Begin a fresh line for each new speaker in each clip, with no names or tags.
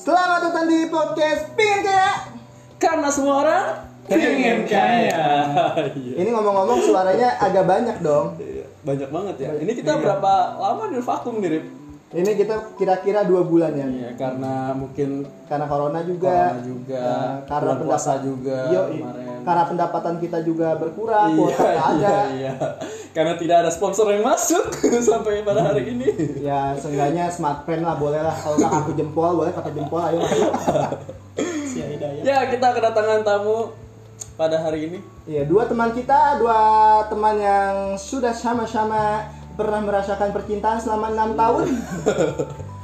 datang di podcast Pin Kaya.
Karena semua orang pengen kaya. Iya.
Ini ngomong-ngomong suaranya agak banyak dong.
Iya, Banyak banget ya.
Banyak.
Ini kita berapa lama di vakum nih, Rip?
Ini kita kira-kira dua bulan ya.
Iya, karena mungkin
Karena corona juga.
corona juga,
eh, karena
bulan puasa
pendapat-
juga
Yoi.
kemarin.
Karena pendapatan kita juga berkurang, kuota nggak ada.
iya. Karena tidak ada sponsor yang masuk sampai pada hari ini.
Ya seenggaknya smartphone lah boleh lah. Kalau nggak aku jempol boleh kata jempol ayo masuk. si Hidayah.
Ya, kita kedatangan tamu pada hari ini.
Iya dua teman kita, dua teman yang sudah sama-sama pernah merasakan percintaan selama enam tahun.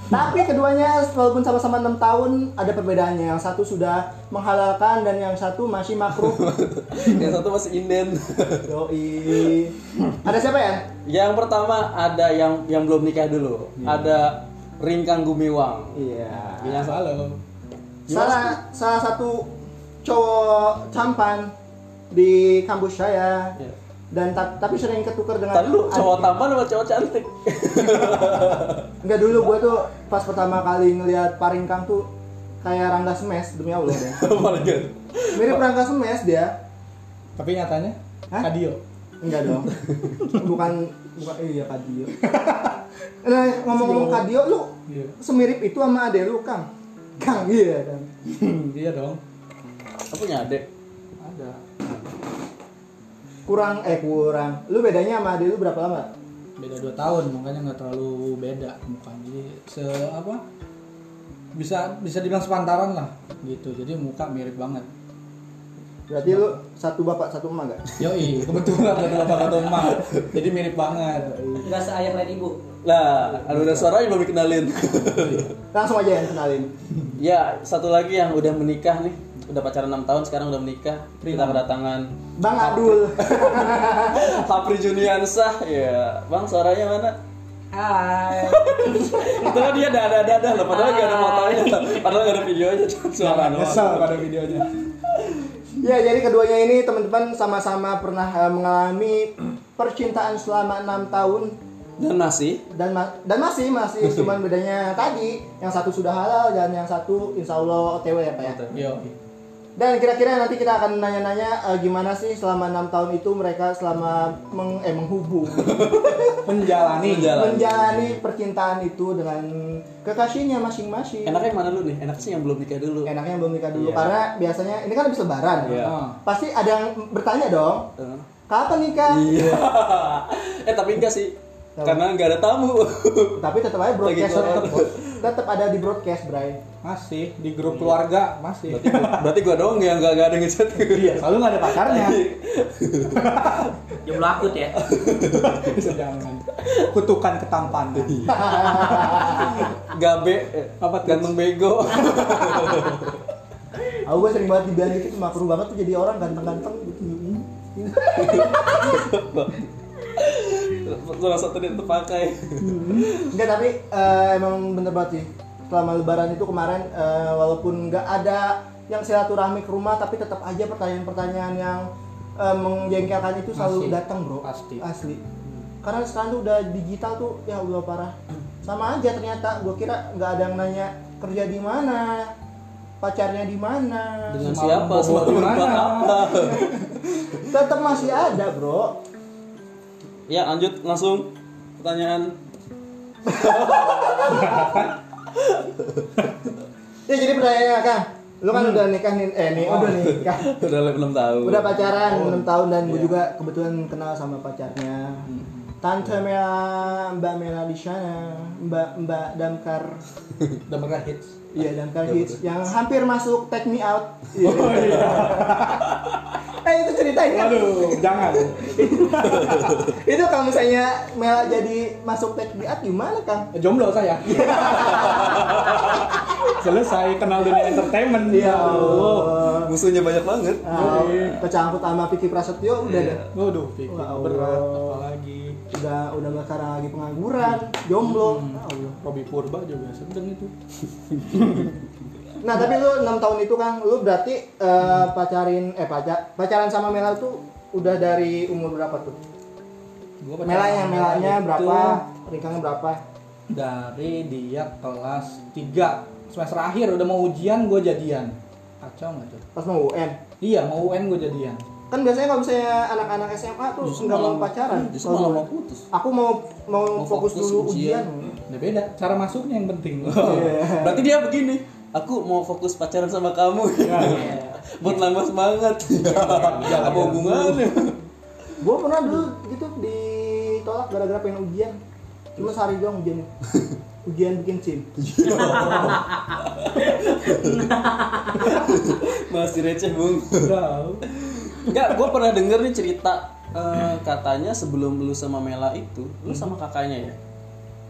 Tapi keduanya walaupun sama-sama enam tahun ada perbedaannya. Yang satu sudah menghalalkan dan yang satu masih makruh.
yang satu masih inden.
Yoi. Ada siapa ya?
yang pertama ada yang yang belum nikah dulu. Ada Ringkang Gumiwang.
Iya.
Bilang halo.
Salah salah satu cowok campan di kampus saya.
Iya.
Dan ta- tapi sering ketukar dengan
Tadi lu cowok tampan apa cowok cantik?
Enggak dulu gue tuh pas pertama kali ngelihat Paringkang tuh kayak Rangga Smash demi Allah deh.
Apalagi.
Mirip Rangga Smash dia.
Tapi nyatanya
Hah?
Kadio.
Enggak dong. Bukan bukan iya Kadio. Nah, ngomong-ngomong Kadio lu
Iya.
semirip itu sama ade lu Kang. Kang iya kan.
Dia Iya dong.
Aku punya adek.
Ada.
Kurang eh kurang. Lu bedanya sama ade lu berapa lama?
Beda 2 tahun makanya nggak terlalu beda mukanya. Jadi se apa? Bisa bisa dibilang sepantaran lah gitu. Jadi muka mirip banget.
Berarti lu satu bapak satu emak enggak?
Yoi, kebetulan ada bapak kata emak. Jadi mirip banget.
Enggak seayah lain ibu.
Lah, aduh udah suaranya belum dikenalin.
Langsung aja yang kenalin.
ya, satu lagi yang udah menikah nih. Udah pacaran 6 tahun, sekarang udah menikah. Kita kedatangan
Bang Adul.
Hapri Juniansah. Ya, Bang suaranya mana?
Hai.
Itu kan dia dada dada loh, padahal gak ada fotonya. Padahal gak ada videonya, cuma suara doang.
pada videonya.
Ya, jadi keduanya ini teman-teman sama-sama pernah eh, mengalami percintaan selama enam tahun
Dan masih
dan ma- dan masih masih cuman bedanya tadi yang satu sudah halal dan yang satu insya Allah OTW ya pak ya.
Yoi.
Dan kira-kira nanti kita akan nanya-nanya eh, gimana sih selama enam tahun itu mereka selama meng eh, menghubung
Menjalani.
menjalani.
menjalani percintaan itu dengan kekasihnya masing-masing.
Enaknya yang mana dulu nih? Enaknya sih yang belum nikah dulu.
Enaknya belum nikah dulu
Iya.
karena biasanya ini kan habis lebaran.
Iya.
Ah.
Pasti ada yang bertanya dong,
Eh.
kapan nikah?
Iya. eh tapi enggak sih.
Kenapa?
Karena enggak ada tamu.
tapi tetap aja broadcast
Lagi
tetap, tetap ada di broadcast Bray
Masih di grup keluarga masih.
berarti, gua- berarti gua doang yang enggak ada ngechat.
Iya, kalau nggak ada pakarnya
Jam lakut ya.
bisa jangan. Kutukan ketampanan.
Gabe, eh, apa ganteng bego.
aku gue sering banget dibilang gitu makruh banget tuh jadi orang ganteng-ganteng gitu
Lo rasa tadi terpakai.
enggak tapi eh, emang bener banget sih selama lebaran itu kemarin eh, walaupun nggak ada yang silaturahmi ke rumah tapi tetap aja pertanyaan-pertanyaan yang eh, menjengkelkan itu selalu
Pasti.
datang bro
Pasti.
asli karena sekarang tuh udah digital tuh ya Allah parah sama aja ternyata gue kira nggak ada yang nanya kerja di mana pacarnya di mana
Dengan siapa?
Semalam bobo
Semalam
di mana?
buat apa?
tetap masih ada bro
Ya lanjut langsung pertanyaan.
Ya jadi pertanyaannya Kang, lu kan udah nikah nih, eh nih, udah nikah,
Udah lah, belum tahu.
udah pacaran 6 tahun dan gue juga kebetulan kenal sama pacarnya. Tante Mela, Mbak Mela di sana, Mbak Mbak Damkar,
Udah pernah hits.
iya Damkar Hits yang hampir masuk Take Me Out. Iya. eh itu ceritanya.
Waduh, jangan.
Itu kalau misalnya Mela jadi masuk Take Me Out gimana Kang?
Jomblo saya. Selesai kenal dunia entertainment. Ya Allah.
Oh, Musuhnya banyak banget.
Ah, kecangkut sama Vicky Prasetyo udah deh.
Waduh, pikir
Ya Allah.
berat apalagi.
udah udah nggak sekarang lagi pengangguran jomblo Ya Allah.
Robi Purba juga sedang itu.
nah tapi lu enam tahun itu kan lu berarti eh, pacarin eh pacar pacaran sama Mela tuh udah dari umur berapa tuh
Gua gitu. pacaran
Melanya
sama
Melanya
itu
berapa ringkangnya berapa
Dari dia kelas 3 semester akhir udah mau ujian gue jadian kacau nggak tuh
pas mau UN
iya mau UN gue jadian
kan biasanya kalau misalnya anak-anak SMA tuh
Justru
nggak mau
malah-
pacaran
hmm, Justru
Kalau
malah
gua-
mau putus.
aku mau mau,
Mau
fokus,
fokus
dulu ujian, Iya.
ujian.
udah beda cara masuknya yang penting
Berarti dia begini. Aku mau fokus pacaran sama kamu. Buat nambah semangat. Apa hubungannya?
gue pernah dulu gitu ditolak gara-gara pengen ujian cuma sehari doang ujiannya ujian bikin sim
Masih receh, Bung.
Tahu.
Enggak, gue pernah denger nih cerita eh, katanya sebelum lu sama Mela itu, lu sama kakaknya ya?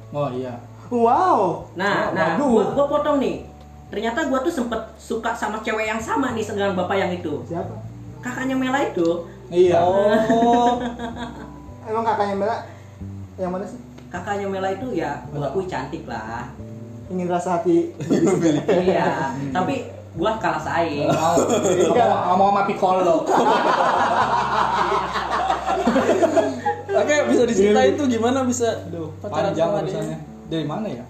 oh iya
wow
Nah,
Oh,
nah,
waduh.
gua, gua potong nih. Ternyata gua tuh sempet suka sama cewek yang sama nih sekarang bapak yang itu.
siapa
Kakaknya Mela itu,
iya
Oh,
emang kakaknya Mela yang mana sih
kakaknya Mela itu ya gua
Mela.
akui cantik lah.
ingin rasa hati
iya, tapi gua kalah saing.
mau mau mau sama Piccolo
oke bisa diceritain tuh gimana bisa
Aduh,
pacaran
panjang
sama dia?
urusannya dari mana ya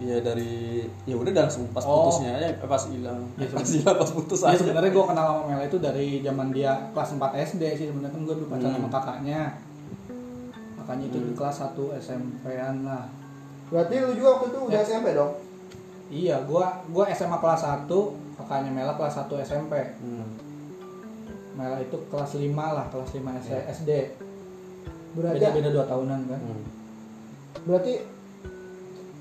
Iya dari ya udah langsung pas
Oh.
putusnya aja eh, pas hilang.
Ya,
pas hilang pas putus
Ya
aja.
sebenarnya gue kenal sama Mela itu dari zaman dia kelas 4 SD sih sebenarnya kan gue dulu pacaran sama kakaknya. Kakaknya itu di kelas 1 SMP-an lah.
berarti lu juga waktu itu udah SMP dong
Iya, gua gua SMA kelas 1, kakaknya Mela kelas 1 SMP.
Hmm.
Mela itu kelas 5 lah, kelas 5 S-
Iya.
SD.
berarti
Beda-beda 2 tahunan kan.
Hmm.
berarti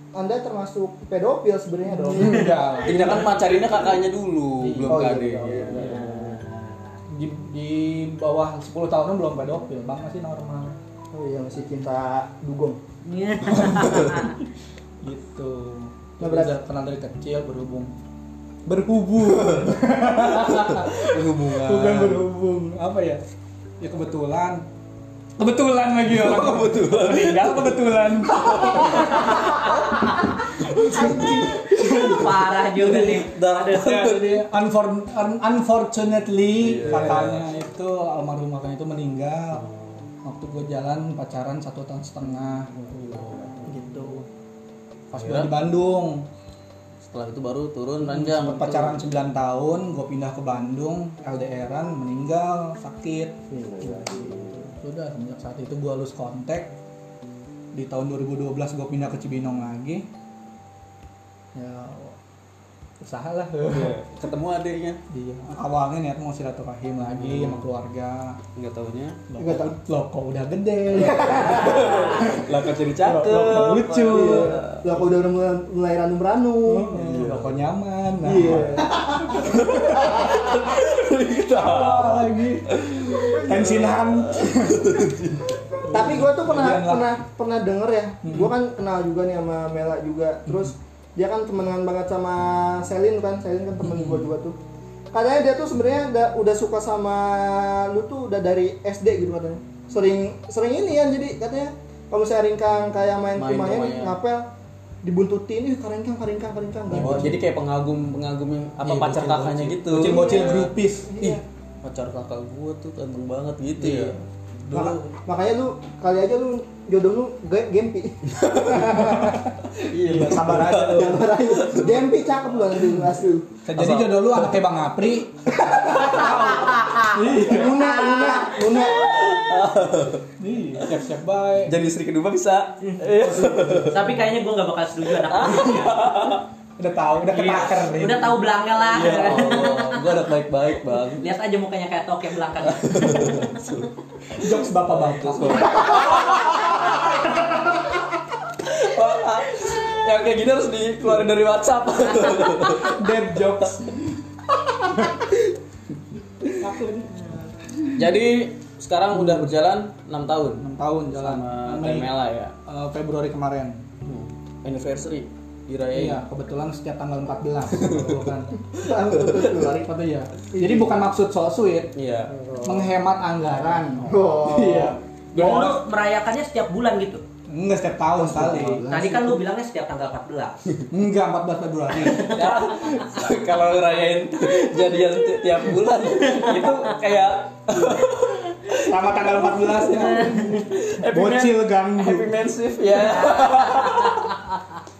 anda termasuk pedofil sebenarnya dong
Enggak lah.
Tidak kan pacarinnya kakaknya dulu,
Iya.
belum
Oh,
ke
iya,
adiknya.
iya, iya, iya.
Di, di bawah 10 tahunan belum pedofil, Bang masih normal.
oh iya masih cinta dugong
Gitu.
Nah,
Nah,
berarti-
udah kenal dari kecil berhubung berhubung
Berhubungan.
bukan berhubung apa ya ya kebetulan kebetulan lagi orang kebetulan meninggal kebetulan
Parah juga nih.
Darah.
ya, jadi unfor- un- unfortunately
Iya.
katanya itu almarhum kakaknya itu meninggal waktu gue jalan pacaran satu tahun setengah
Oh.
gitu pas gue
Akhirnya?
di Bandung
Setelah itu baru turun ranjang.
sempet pacaran 9 tahun gue pindah ke Bandung LDRan meninggal sakit sudah sejak saat itu gue lulus kontak di tahun 2012 gue pindah ke Cibinong lagi ya usaha lah
Ketemu adiknya,
iya awalnya niat mau silaturahim lagi sama keluarga
nggak taunya.
Loh,
Nggak tahu.
loh kok udah gede
Lah kok jadi
Loh,
cakep.
loh, kok lucu
Iya. lah kalau udah mulai, mulai ranum
Hmm.
ranum
Loh, kok nyaman nah,
iya
apa lagi tensinan
tapi gue tuh pernah
Jangan lah.
pernah pernah denger ya gue kan kenal juga nih sama Mela juga terus dia kan temenan banget sama Selin kan Selin kan temen gue juga tuh katanya dia tuh sebenarnya udah, udah suka sama lu tuh udah dari SD gitu katanya sering sering ini ya jadi katanya kamu saya ringkang kayak main,
Main
kemarin
kemayan.
ngapel dibuntutin ih karingkang karingkang karingkang
Jadi-
gak
Jadi kayak pengagum pengagum yang apa
Iya,
pacar
bocil-
kakaknya
bocil.
gitu.
bocil-bocil
Iya.
grupis
Iya.
Ih,
Pacar kakak gua tuh ganteng banget gitu
Iya.
ya.
Maka-
Dulu
makanya lu kali aja lu jodoh lu ge- gempi
iya.
sabar aja lu
gempi cakep lu nanti lu asli
jadi jodoh lu anaknya Bang Apri
Luna Luna Luna
nih siap-siap baik
Jadi istri kedua bisa.
Tapi kayaknya gua nggak bakal setuju anak ini.
udah tahu udah ketaker nih
Udah tahu belanga lah.
Ya Allah, gua udah baik-baik bang.
Lihat aja mukanya kayak tokek belakang.
jokes bapak-bapak
Wah, yang Ya, kayak gini harus dikeluarin dari WhatsApp.
dead jokes
Jadi sekarang udah berjalan 6 tahun
6 tahun jalan
sama
Mei-
Temela ya.
eh, Februari kemarin
Hmm. Anniversary dirayain.
iya kebetulan setiap tanggal 14 kebetulan.
lari
Apa tuh ya jadi bukan maksud so sweet
Iya.
menghemat anggaran
Oh.
iya
Dulu lu merayakannya setiap bulan gitu.
enggak setiap tahun sekali
Tadi kan lu bilangnya setiap tanggal 14.
enggak 14 Februari
Ya, kalau ngerayain jadian ti- tiap bulan itu kayak
sama tanggal 14 ya bocil
happy
ganggu
man shift ya.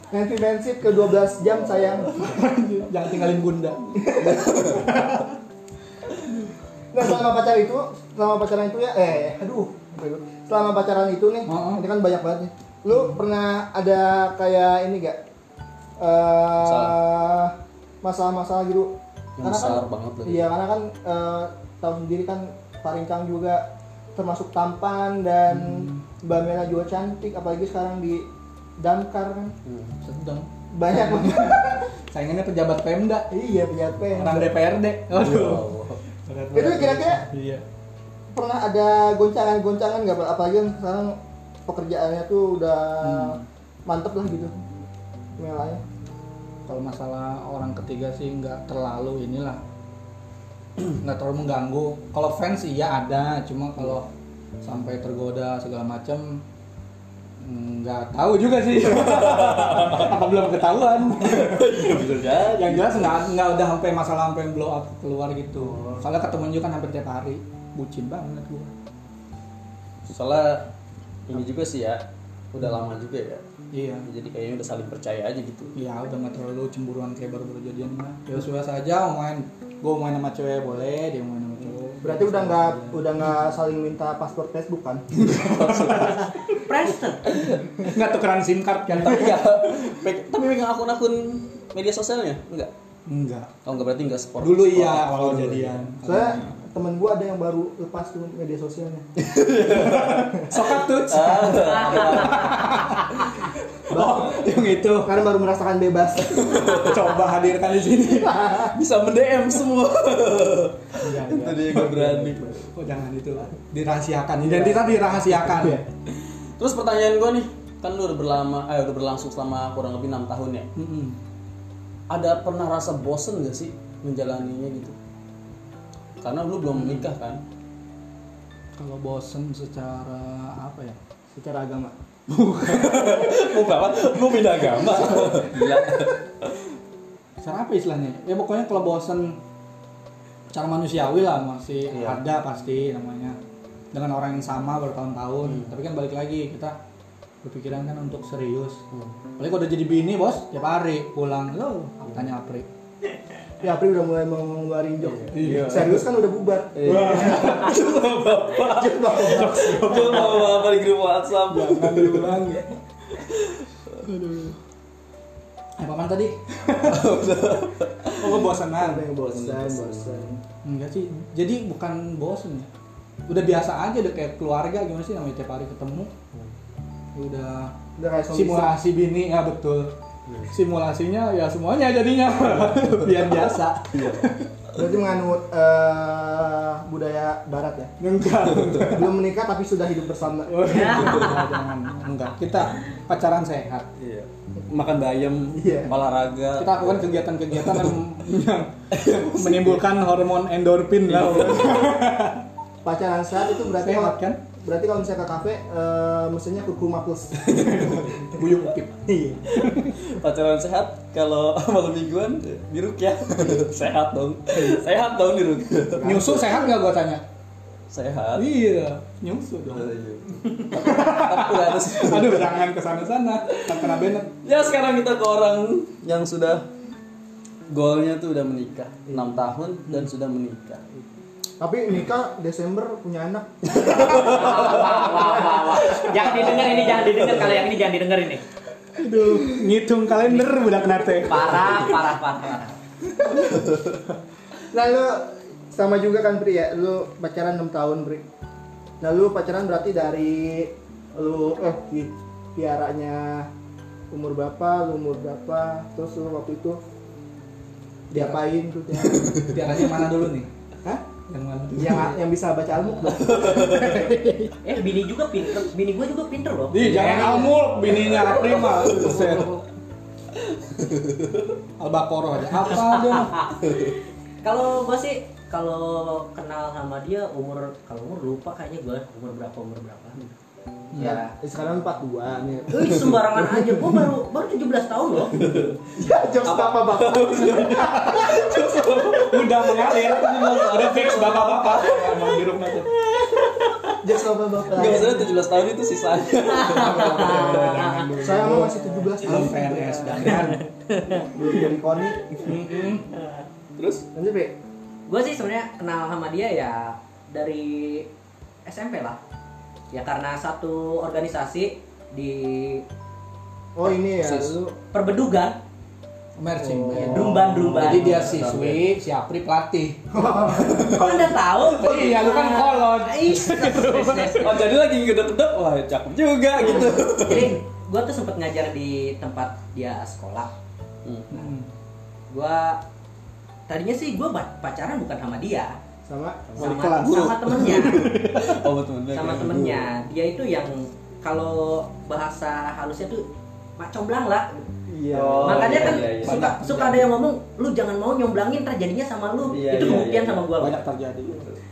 Nanti bensip ke 12 jam sayang.
Jangan tinggalin bunda.
Nah selama pacar itu, selama pacaran itu ya, eh, aduh, selama pacaran itu nih,
Heeh.
ini kan banyak banget nih. Lu pernah ada kayak ini gak? Eh, masalah-masalah gitu.
Yang besar banget lagi.
Iya, karena kan eh, tahu sendiri kan Paringkang juga termasuk tampan dan Mbak Mela juga cantik, apalagi sekarang di Damkar kan
Iya.
Sedang.
banyak banget.
Saingannya pejabat Pemda,
iya, pejabat PNS.
orang DPRD. Aduh. Berat banget.
Ya Itu kira-kira
Iya.
pernah ada goncangan-goncangan nggak Pak? apalagi kan sekarang pekerjaannya tuh udah mantep lah gitu melanya
Kalau masalah orang ketiga sih nggak terlalu inilah nggak terlalu mengganggu. Kalau fans iya ada, cuma kalau sampai tergoda segala macam nggak tahu juga sih apa belum ketahuan
Iya bisa jadi.
yang jelas nggak nggak udah sampai masalah sampai blow up keluar gitu
Oh.
soalnya ketemu juga kan hampir tiap hari bucin banget gua
Soalnya ini juga sih ya, udah lama juga ya.
iya
Jadi kayaknya udah saling percaya aja gitu.
iya udah nggak terlalu cemburuan kayak baru baru jadian mah ya sudah saja main gua main sama cewek boleh dia main sama cowok
berarti udah nggak udah nggak saling minta paspor Facebook kan
Preston.
nggak tukeran sim card kan
Tapi ya, pe- tapi pegang akun-akun media sosialnya enggak?
enggak
Oh enggak berarti enggak sport.
dulu
sport.
iya awal jadian
soalnya temen gua ada yang baru lepas tuh media sosialnya
sokat tuh
Ah.
oh yang itu
karena baru merasakan bebas
coba hadirkan di sini
Bisa mendm semua.
Iya, iya.
Itu dia yang gak berani.
oh jangan itu dirahasiakan identitas dirahasiakan
Iya.
Terus pertanyaan gue nih, kan lu udah berlama, eh udah berlangsung selama kurang lebih enam tahun ya.
Mm-mm.
Ada pernah rasa bosen gak sih menjalaninya gitu? Karena lu belum menikah kan?
kalau bosen secara apa ya
secara agama
Lu banget, lu pindah agama. Gila.
cara apa istilahnya ya pokoknya kalau bosen cara manusiawi lah masih
Iya.
ada pasti namanya dengan orang yang sama bertahun-tahun tapi kan balik lagi kita berpikiran kan untuk serius paling kalau udah jadi bini bos tiap hari pulang lo tanya Apri
ya April udah mulai mau ngeluarin jok
Iya.
serius kan udah bubar
Lu mau apa di grup WhatsApp?
jangan diulang ya eh paman tadi oh kebosanan
ada yang bosan bosan
Enggak sih. Jadi bukan bosen ya. Udah biasa aja udah kayak keluarga gimana sih namanya tiap hari ketemu. Udah
udah kayak suami istri.
simulasi bini ya betul. Simulasinya ya semuanya jadinya biar biasa.
berarti menganut eh, budaya barat ya
Enggak.
belum menikah tapi sudah hidup bersama
Oh. Enggak, jangan. Enggak. Kita pacaran sehat.
Iya. Makan bayam,
Iya.
olahraga.
Kita lakukan kegiatan-kegiatan yang, yang menimbulkan hormon endorfin lah.
pacaran sehat itu berarti
Sehat,
kalau
kan?
berarti kalau misalnya ke kafe eh, mesinnya kurkuma plus
Buyung upip.
pacaran sehat kalau malam mingguan di rukyah sehat dong sehat dong di rukyah
Nyusu sehat nggak gua tanya?
sehat
Iya, nyusu dong.
Tapi udah harus
Aduh, jangan ke sana-sana. Tak kena benet.
ya sekarang kita ke orang yang sudah golnya tuh udah menikah 6 tahun dan sudah menikah
tapi nikah Desember punya anak
Wah, wah, wah. Jangan didengar ini, jangan didengar kalau yang ini jangan didengar ini.
Aduh, ngitung kalender budak nate.
Parah, parah, parah. parah.
nah lu sama juga kan Pri ya lu pacaran 6 tahun Pri nah lu pacaran berarti dari lu eh di tiaranya umur berapa lu umur berapa terus lu waktu itu diapain tuh tiara?
Tiaranya mana dulu nih?
Hah?
Yang mana?
yang yang bisa baca almuk dong
Eh, bini juga pinter, bini gua juga pinter loh.
Di jangan almul bininya Prima. Buset. Albakoro aja. Apa dia?
Kalau gua sih kalau kenal sama dia umur kalau umur lupa kayaknya gua umur berapa umur berapa.
ya sekarang 42 nih
Eh, sembarangan aja. Gua baru baru 17 tahun loh.
ya jokes apa bapak
Udah mengalir. Udah fix bapak-bapak. Emang di rumah tuh.
Jokes bapak
Gak
bapak.
maksudnya 17 tahun itu sisanya
Saya mau masih 17
Lu
tahun.
PNS jangan.
Belum jadi koni.
Mm-mm.
Terus
Lanjut Pi.
gue sih sebenarnya kenal sama dia ya dari SMP lah ya karena satu organisasi di
Oh ini ya
Sis.
lu.
perbedugan
Marching
Oh.
band.
ya, Dumban Dumban
Jadi dia siswi, si Apri pelatih.
kok udah tahu Ah, iya.
Oh iya, lu kan kolon.
Ih, yes, yes, yes.
Oh jadi lagi ngedek-ngedek Wah cakep juga gitu
jadi gue tuh sempet ngajar di tempat dia sekolah Hmm.
Mm.
gue tadinya sih gue pacaran bukan sama dia
Sama
sama,
wali kelas.
sama temennya
Oh sama temennya
sama
kayak
temennya dia itu yang kalau bahasa halusnya tuh mak comblang lah
Iya.
Oh,
makanya
iya,
kan
iya, iya.
suka
Banyak
suka ada yang ngomong lu jangan mau nyomblangin terjadinya sama lu
Iya,
itu
iya,
pembuktian
iya.
sama gua
Banyak terjadi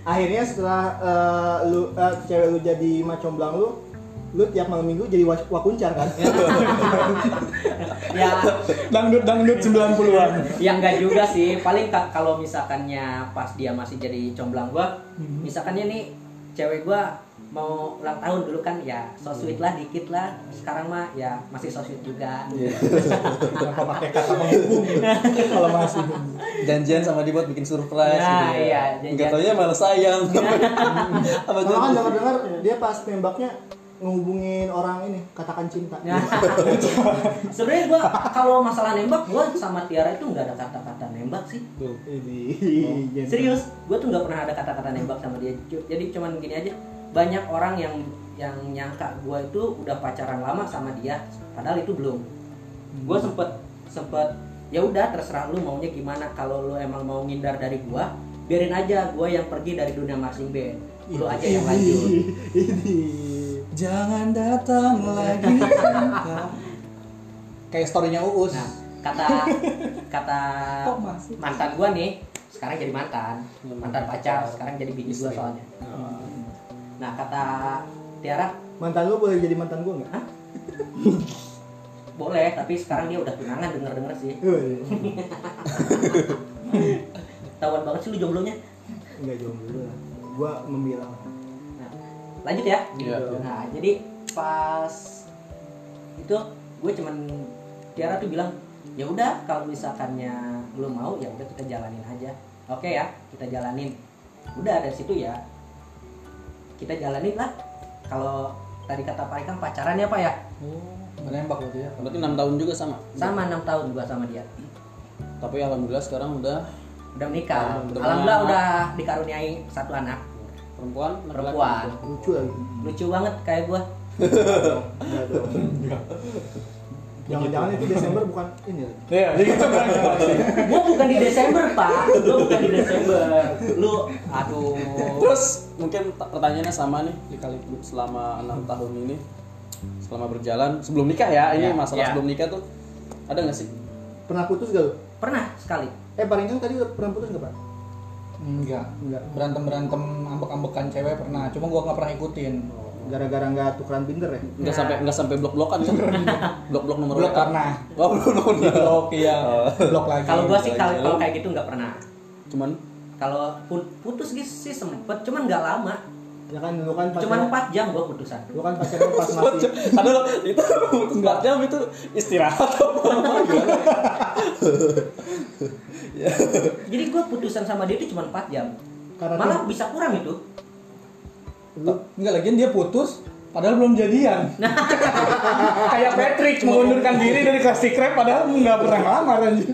Akhirnya setelah eh, lu eh, cewek lu jadi macomblang lu, lu tiap malam minggu jadi wa- wakuncar kan?
ya
Dangdut dangdut 90-an.
ya enggak juga sih paling ka- kalau misalkannya pas dia masih jadi comblang gua misalkannya nih cewek gua mau ulang tahun dulu kan ya so sweet lah dikit lah sekarang mah ya masih so sweet juga
Kenapa pakai kata menghubung? Kalau masih
Janjian sama dia buat bikin surprise
Nah,
gitu ya
iya, janjian.
Gak taunya malah sayang Apa
Kalau kan dengar dengar dia pas nembaknya ngehubungin orang ini katakan cinta.
Nah, sebenarnya gua kalau masalah nembak gua sama Tiara itu nggak ada kata-kata nembak sih
Oh.
Ini.
serius gua tuh nggak pernah ada kata-kata nembak sama dia Cu- jadi cuman gini aja banyak orang yang yang nyangka gua itu udah pacaran lama sama dia padahal itu belum gua sempet sempet ya udah terserah lu maunya gimana kalau lu emang mau ngindar dari gua biarin aja gua yang pergi dari dunia marching band lu aja yang lanjut
Ini.
Jangan datang lagi. Kak. Kayak story-nya Uus.
Nah, kata kata
Kok masih?
mantan gua nih, sekarang jadi mantan, mantan pacar, sekarang jadi bini gua soalnya. Nah, kata Tiara
Mantan lu boleh jadi mantan gua nggak?
boleh, tapi sekarang dia udah tunangan denger-denger sih.
Eh,
Tawan banget sih lu jomblonya.
Nggak jomblo lah. Gua memilah.
Nah, lanjut ya.
Iya.
Nah, jadi pas itu gue cuman Tiara tuh bilang, "Ya udah, kalau misalkannya lu mau ya udah kita jalanin aja." Oke ya, kita jalanin. Udah dari situ ya. Kita jalanin lah. Kalau tadi kata Pak Ikang pacaran ya, Pak ya?
Oh, Menembak berarti ya.
Berarti 6 tahun juga sama
Sama 6 tahun gua sama dia.
Tapi alhamdulillah sekarang udah
Udah menikah.
Udah
Alhamdulillah
punya
udah dikaruniai satu anak
perempuan laki-laki.
perempuan.
Lucu lagi.
Lucu banget kayak gua.
Nggak dong. Jangan-jangan itu Desember bukan ini lagi.
Iya, jadi gitu kan.
Gua bukan di Desember, Pak. Gua bukan di Desember. Lu aduh.
Terus mungkin ta- pertanyaannya sama nih dikali selama enam tahun ini selama berjalan sebelum nikah ya ini
Ya,
masalah
ya.
sebelum nikah tuh ada nggak sih
Pernah putus gak lu?
Pernah sekali.
Eh paling kan tadi udah pernah putus nggak pak?
Enggak.
Enggak.
Berantem-berantem ambek-ambekan cewek pernah, cuma gua nggak pernah ikutin.
Gara-gara nggak tukeran pinter ya?
nggak sampai nggak sampai blok-blokan kan blok-blok nomor
Blok
WA.
karena
Wah, blok nomor
di blok ya, blok lagi.
Kalau gua sih
lagi,
kalau
lu?
kalau kayak gitu nggak pernah.
cuman
Kalau pun- putus gitu sih sempet, cuman nggak lama.
Ya kan lu kan
Cuman
pacaran,
4 jam gua putusan.
lu kan pacaran pas masih
ada loh, itu empat jam itu istirahat
Jadi gua putusan sama dia itu cuman 4 jam.
karena
Malah bisa kurang itu.
lu
Enggak lagian dia putus padahal belum jadian. Kayak Patrick mengundurkan diri dari Krusty Krab padahal nggak pernah ngelamar anjir.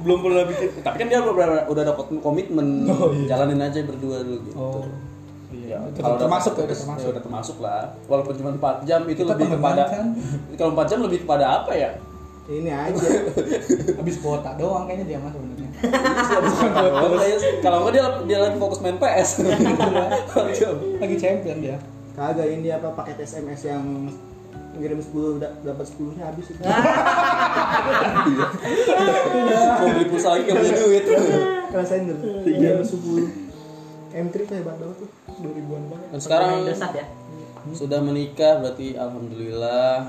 belum pernah bikin tapi kan dia udah udah dapat komitmen
Oh, iya.
jalanin aja berdua dulu gitu
Oh.
Ya,
Iya,
kalau udah
termasuk ya,
putus,
termasuk.
ya udah termasuk lah. Walaupun cuma 4 jam itu
Kita
lebih kepada
pengembangan.
kalau 4 jam lebih kepada apa ya?
ini aja
Habis kuota doang kayaknya dia mah sebenarnya.
Kalau nggak- kalau nggak dia dia lagi fokus main PS. Empat jam.
Lagi champion dia.
kagak ini apa paket SMS yang ngirim 10 da- dapat 10 nya habis itu
Mau beli pulsa lagi nggak punya duit.
rasain dulu 310 M3 tuh hebat banget tuh
2000-an banget.
Dan sekarang
Indosat ya.
sudah menikah berarti alhamdulillah.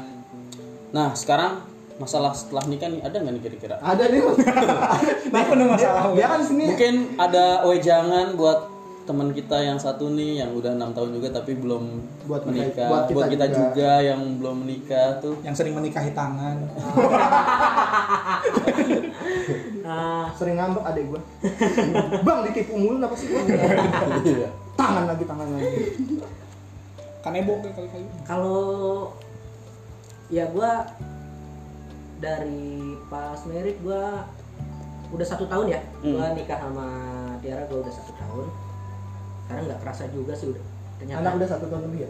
Nah, sekarang masalah setelah nikah nih ada nggak nih kira-kira?
ada nih Mas.
Nah, penuh masalah.
dia kan sini
Mungkin ada wejangan buat teman kita yang satu nih yang udah enam tahun juga tapi belum
Buat mereka-
menikah
buat
buat
kita
kita,
juga.
juga. yang belum menikah tuh
yang sering menikahi tangan
Ah,
Sering ngambek adek gue. Bang ditipu mulu apa sih gue?
Iya.
tangan lagi tangan lagi.
kanebo Kan kali-kali
kalau ya gua dari pas merit gua udah satu tahun ya gua nikah sama Tiara gua udah satu tahun karena nggak kerasa juga sih udah ternyata
Anak udah satu tahun lebih ya.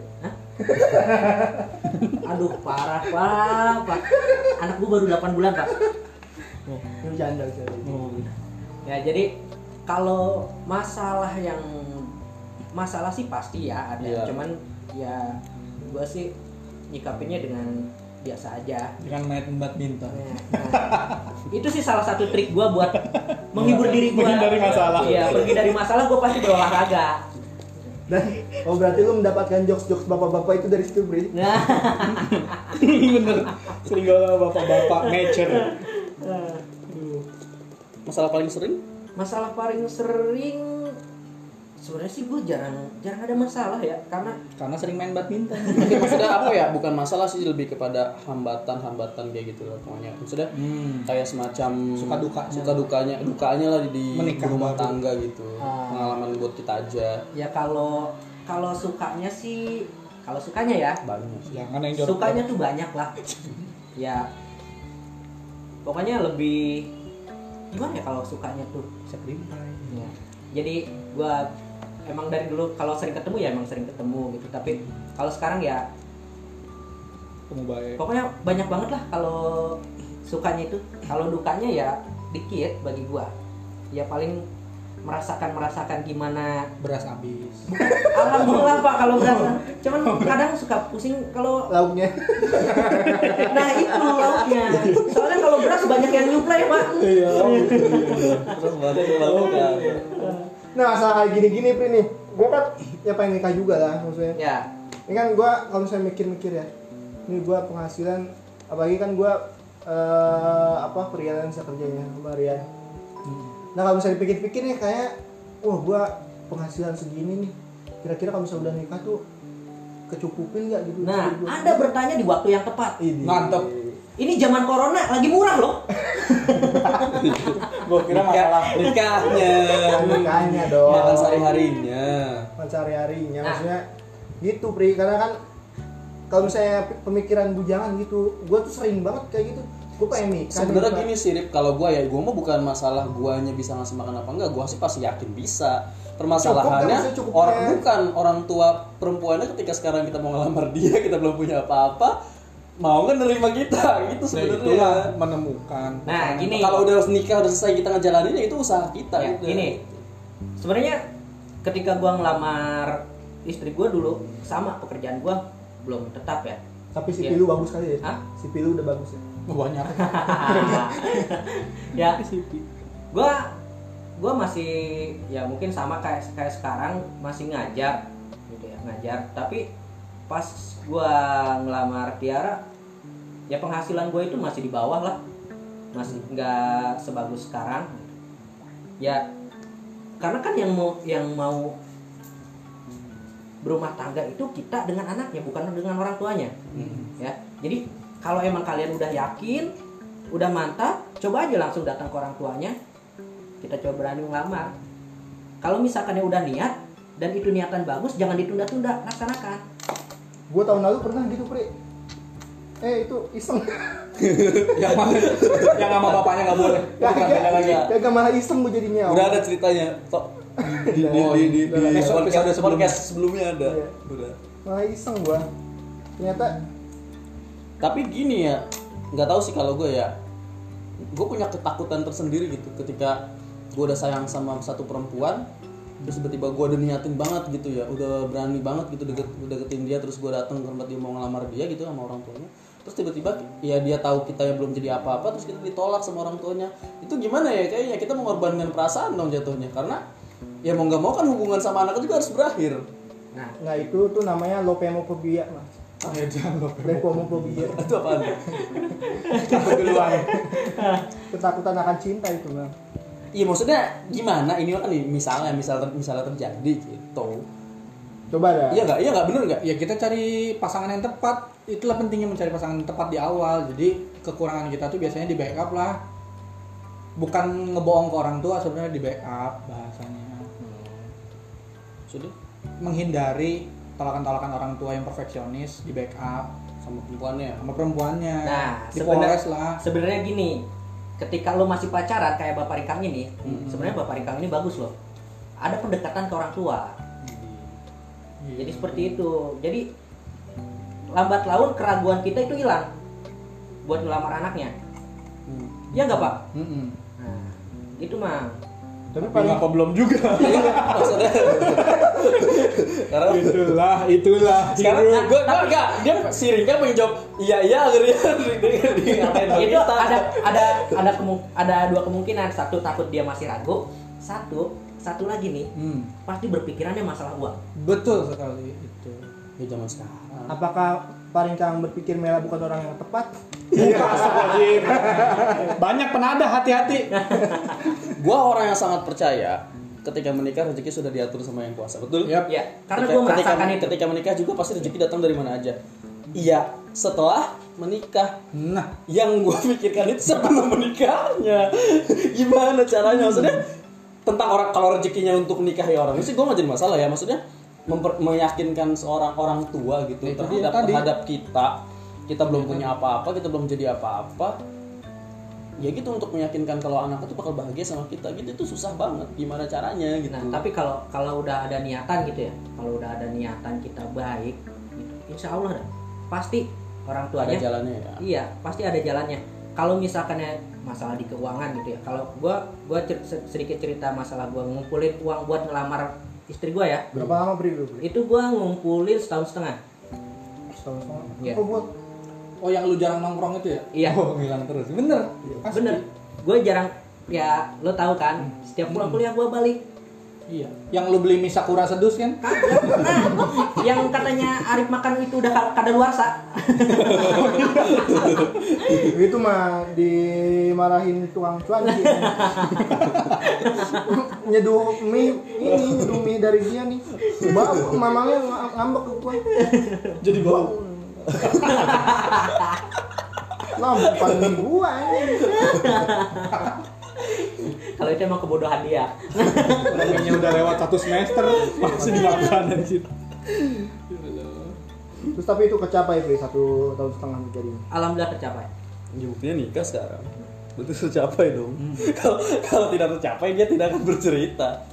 aduh parah pak pak anak gua baru 8 bulan pak
Ini janda sih.
ya jadi kalau masalah yang masalah sih pasti ya ada
Iya.
cuman ya gua sih nyikapinnya dengan biasa aja
dengan main badminton
Nah, itu sih salah satu trik gue buat menghibur diri gue
Menghindari masalah.
iya pergi dari masalah gue pasti berolahraga
Dan oh berarti lu mendapatkan jokes-jokes bapak-bapak itu dari situ, Bri.
nah
bener sering gaul sama bapak-bapak nature
masalah paling sering
masalah paling sering sebenarnya sih gue jarang jarang ada masalah ya karena
karena sering main badminton
Mungkin maksudnya apa ya bukan masalah sih lebih kepada hambatan-hambatan kayak gitu loh pokoknya maksudnya
Hmm.
kayak semacam
Suka dukanya.
suka dukanya dukanya lah di
Menikah
rumah
baru.
tangga gitu
Ah.
pengalaman buat kita aja
ya kalau kalau sukanya sih kalau sukanya ya
banyak
jangan kan yang jorok
sukanya tuh banyak lah ya pokoknya lebih gimana ya kalau sukanya tuh Ya. Jadi gua emang dari dulu kalau sering ketemu ya emang sering ketemu gitu. Tapi kalau sekarang ya
kamu baik
pokoknya banyak banget lah kalau sukanya itu. Kalau dukanya ya dikit bagi gua. Ya paling merasakan merasakan gimana
beras habis
alhamdulillah pak kalau berasa cuman kadang suka pusing kalau
Lauknya.
nah itu lauknya soalnya kalau beras banyak yang nyuplai pak
iya terus banget lalu kan
Nah, masalah kayak gini-gini, Pri nih. Gue kan ya pengen nikah juga lah maksudnya.
ya
Ini kan gue kalau misalnya mikir-mikir ya, ini gue penghasilan, apalagi kan gue eh apa freelance ya kerjanya sama Rian.
Hmm.
Nah kalau misalnya dipikir-pikir nih kayak, wah gue penghasilan segini nih, kira-kira kalau misalnya udah nikah tuh kecukupin nggak gitu?
nah
Gua-
anda bertanya di waktu yang tepat
ini.
Mantap.
ini zaman corona lagi murah loh
gue kira masalah
nikahnya
Makanya
Iya,
dong.
makan sehari harinya
mencari harinya
kan, Nah.
Ya, maksudnya gitu pri karena kan kalau misalnya p- pemikiran bujangan gitu gue tuh sering banget kayak gitu gue pengen nikah
sebenarnya
nih,
gini sih Rip, kalau gua ya gua mah bukan masalah guanya bisa ngasih makan apa enggak gua sih pasti yakin bisa
Cukup kan, maksudnya
permasalahannya
cukup
orang
kan.
bukan orang tua perempuannya ketika sekarang kita mau ngelamar dia kita belum punya apa-apa mau kan nerima kita gitu
Nah,
sebenarnya
itulah menemukan
Nah, gini.
Kalau udah nikah udah selesai kita ngejalaninnya itu usaha kita.
ya,
gitu.
gini sebenarnya ketika gua ngelamar istri gua dulu sama pekerjaan gua belum tetap ya
tapi si
Iya.
pilu bagus kali ya
Hah?
si pilu udah bagus ya
banyak
ya gua gua masih ya mungkin sama kayak kayak sekarang masih ngajar gitu ya ngajar tapi pas gua ngelamar Tiara ya penghasilan gue itu masih di bawah lah masih nggak sebagus sekarang ya karena kan yang mau yang mau berumah tangga itu kita dengan anaknya bukan dengan orang tuanya
Hmm.
ya jadi kalau emang kalian udah yakin udah mantap coba aja langsung datang ke orang tuanya kita coba berani ngelamar kalau misalkan ya udah niat dan itu niatan bagus jangan ditunda-tunda laksanakan
gue tahun lalu pernah gitu pri eh itu iseng
yang mana Ya, yang sama bapaknya nggak boleh itu bukan beda lagi
lagi.
ya gak malah iseng gue jadinya
Udah ada ceritanya. Tok. Di, di,
Oh,
di, di, di,
udah. Episode-
podcast,
episode sebelumnya.
podcast sebelumnya ada.
Iya.
Udah.
malah iseng gue ternyata
Tapi gini ya, nggak tahu sih kalau gue ya. Gue punya ketakutan tersendiri gitu ketika gue udah sayang sama satu perempuan terus tiba-tiba gue udah niatin banget gitu ya udah berani banget gitu deket udah deketin dia terus gue datang ke tempat dia mau ngelamar dia gitu sama orang tuanya terus tiba-tiba ya dia tahu kita yang belum jadi apa-apa terus kita ditolak sama orang tuanya itu gimana ya kayaknya kita mengorbankan perasaan dong jatuhnya karena ya mau nggak mau kan hubungan sama anak itu juga harus berakhir
nah
nah itu tuh namanya lopemophobia mas
ya jangan lo
lopemophobia
itu apaan
duluan
ketakutan akan cinta itu bang
Iya maksudnya gimana ini kan nih misalnya misal misalnya terjadi gitu.
Coba dah.
Iya nggak? Iya nggak bener nggak?
ya kita cari pasangan yang tepat itulah pentingnya mencari pasangan yang tepat di awal jadi kekurangan kita tuh biasanya di backup lah bukan ngebohong ke orang tua sebenarnya di backup bahasanya
Sudah
menghindari talakan-talakan orang tua yang perfeksionis di backup
sama perempuannya.
sama perempuannya
Nah,
di
sebenarnya-
Polres lah
sebenarnya gini ketika lo masih pacaran kayak bapak Rikang ini sebenarnya bapak Rikang ini bagus loh ada pendekatan ke orang tua
Iya.
jadi seperti itu jadi lambat laun keraguan kita itu hilang buat ngelamar anaknya
Hmm.
ya nggak pak
Mm-mm.
nah, itu mah
Tapi
tapi
Iya.
paling
apa belum juga
maksudnya karena
itulah itulah
sekarang
Iya.
hidup.
gue gue enggak dia si Rika pengen jawab iya iya akhirnya di- di- di- ngatain bang
itu
Ita.
ada ada ada kemu- ada dua kemungkinan satu takut dia masih ragu satu satu lagi nih
Hmm,
pasti berpikirannya masalah uang
betul sekali itu
ya zaman sekarang
apakah paling kamu berpikir Mela bukan orang yang tepat?
banyak penada hati-hati
gue orang yang sangat percaya ketika menikah rezeki sudah diatur sama yang kuasa betul
Yap.
ya karena
Iya. Ketika-
gue merasakan
ketika,
itu
ketika menikah juga pasti rezeki datang dari mana aja iya setelah menikah
nah
yang gue pikirkan itu sebelum menikahnya gimana caranya maksudnya tentang orang kalau rezekinya untuk menikahi orang itu sih gue nggak jadi masalah ya maksudnya memper- meyakinkan seorang orang tua gitu
Itu dia
terhadap
tadi.
terhadap kita kita belum punya apa-apa kita belum jadi apa-apa ya gitu untuk meyakinkan kalau anak itu bakal bahagia sama kita gitu itu susah banget gimana caranya gitu
Nah, tapi kalau kalau udah ada niatan gitu ya, kalau udah ada niatan kita baik, gitu, insya Allah dah. pasti orang
ada
tuanya,
jalannya ya
iya pasti ada jalannya. Kalau misalkan ya masalah di keuangan gitu ya, kalau gua gua cer- se- sedikit cerita masalah gua ngumpulin uang buat ngelamar istri gua ya,
Berapa lama Pri dulu? Pri?
itu gua ngumpulin setahun setengah.
Setahun setengah.
Iya.
Oh, buat
oh yang lu jarang nongkrong itu ya
Iya.
oh ngilang terus bener Asli.
Bener, gua jarang ya lo tahu kan, setiap pulang kuliah gua balik.
Iya. Yang lu beli misakura sedus kan?
Nah, Yang katanya Arif makan itu udah kadaluarsa.
itu mah dimarahin tukang cuanki. nyeduh mie ini nyeduh mie dari dia nih. Bang, mamangnya ng- ngambek ke gua.
Jadi bau.
Lah bukan mie gua ini.
Kalau itu emang kebodohan dia.
Namanya udah lewat satu semester masih
Iya.
dimakan anjir.
Terus tapi itu kecapai Pri satu tahun setengah menjadi.
Alhamdulillah tercapai.
ya buktinya nikah sekarang berarti tercapai dong kalau kalau tidak tercapai dia tidak akan bercerita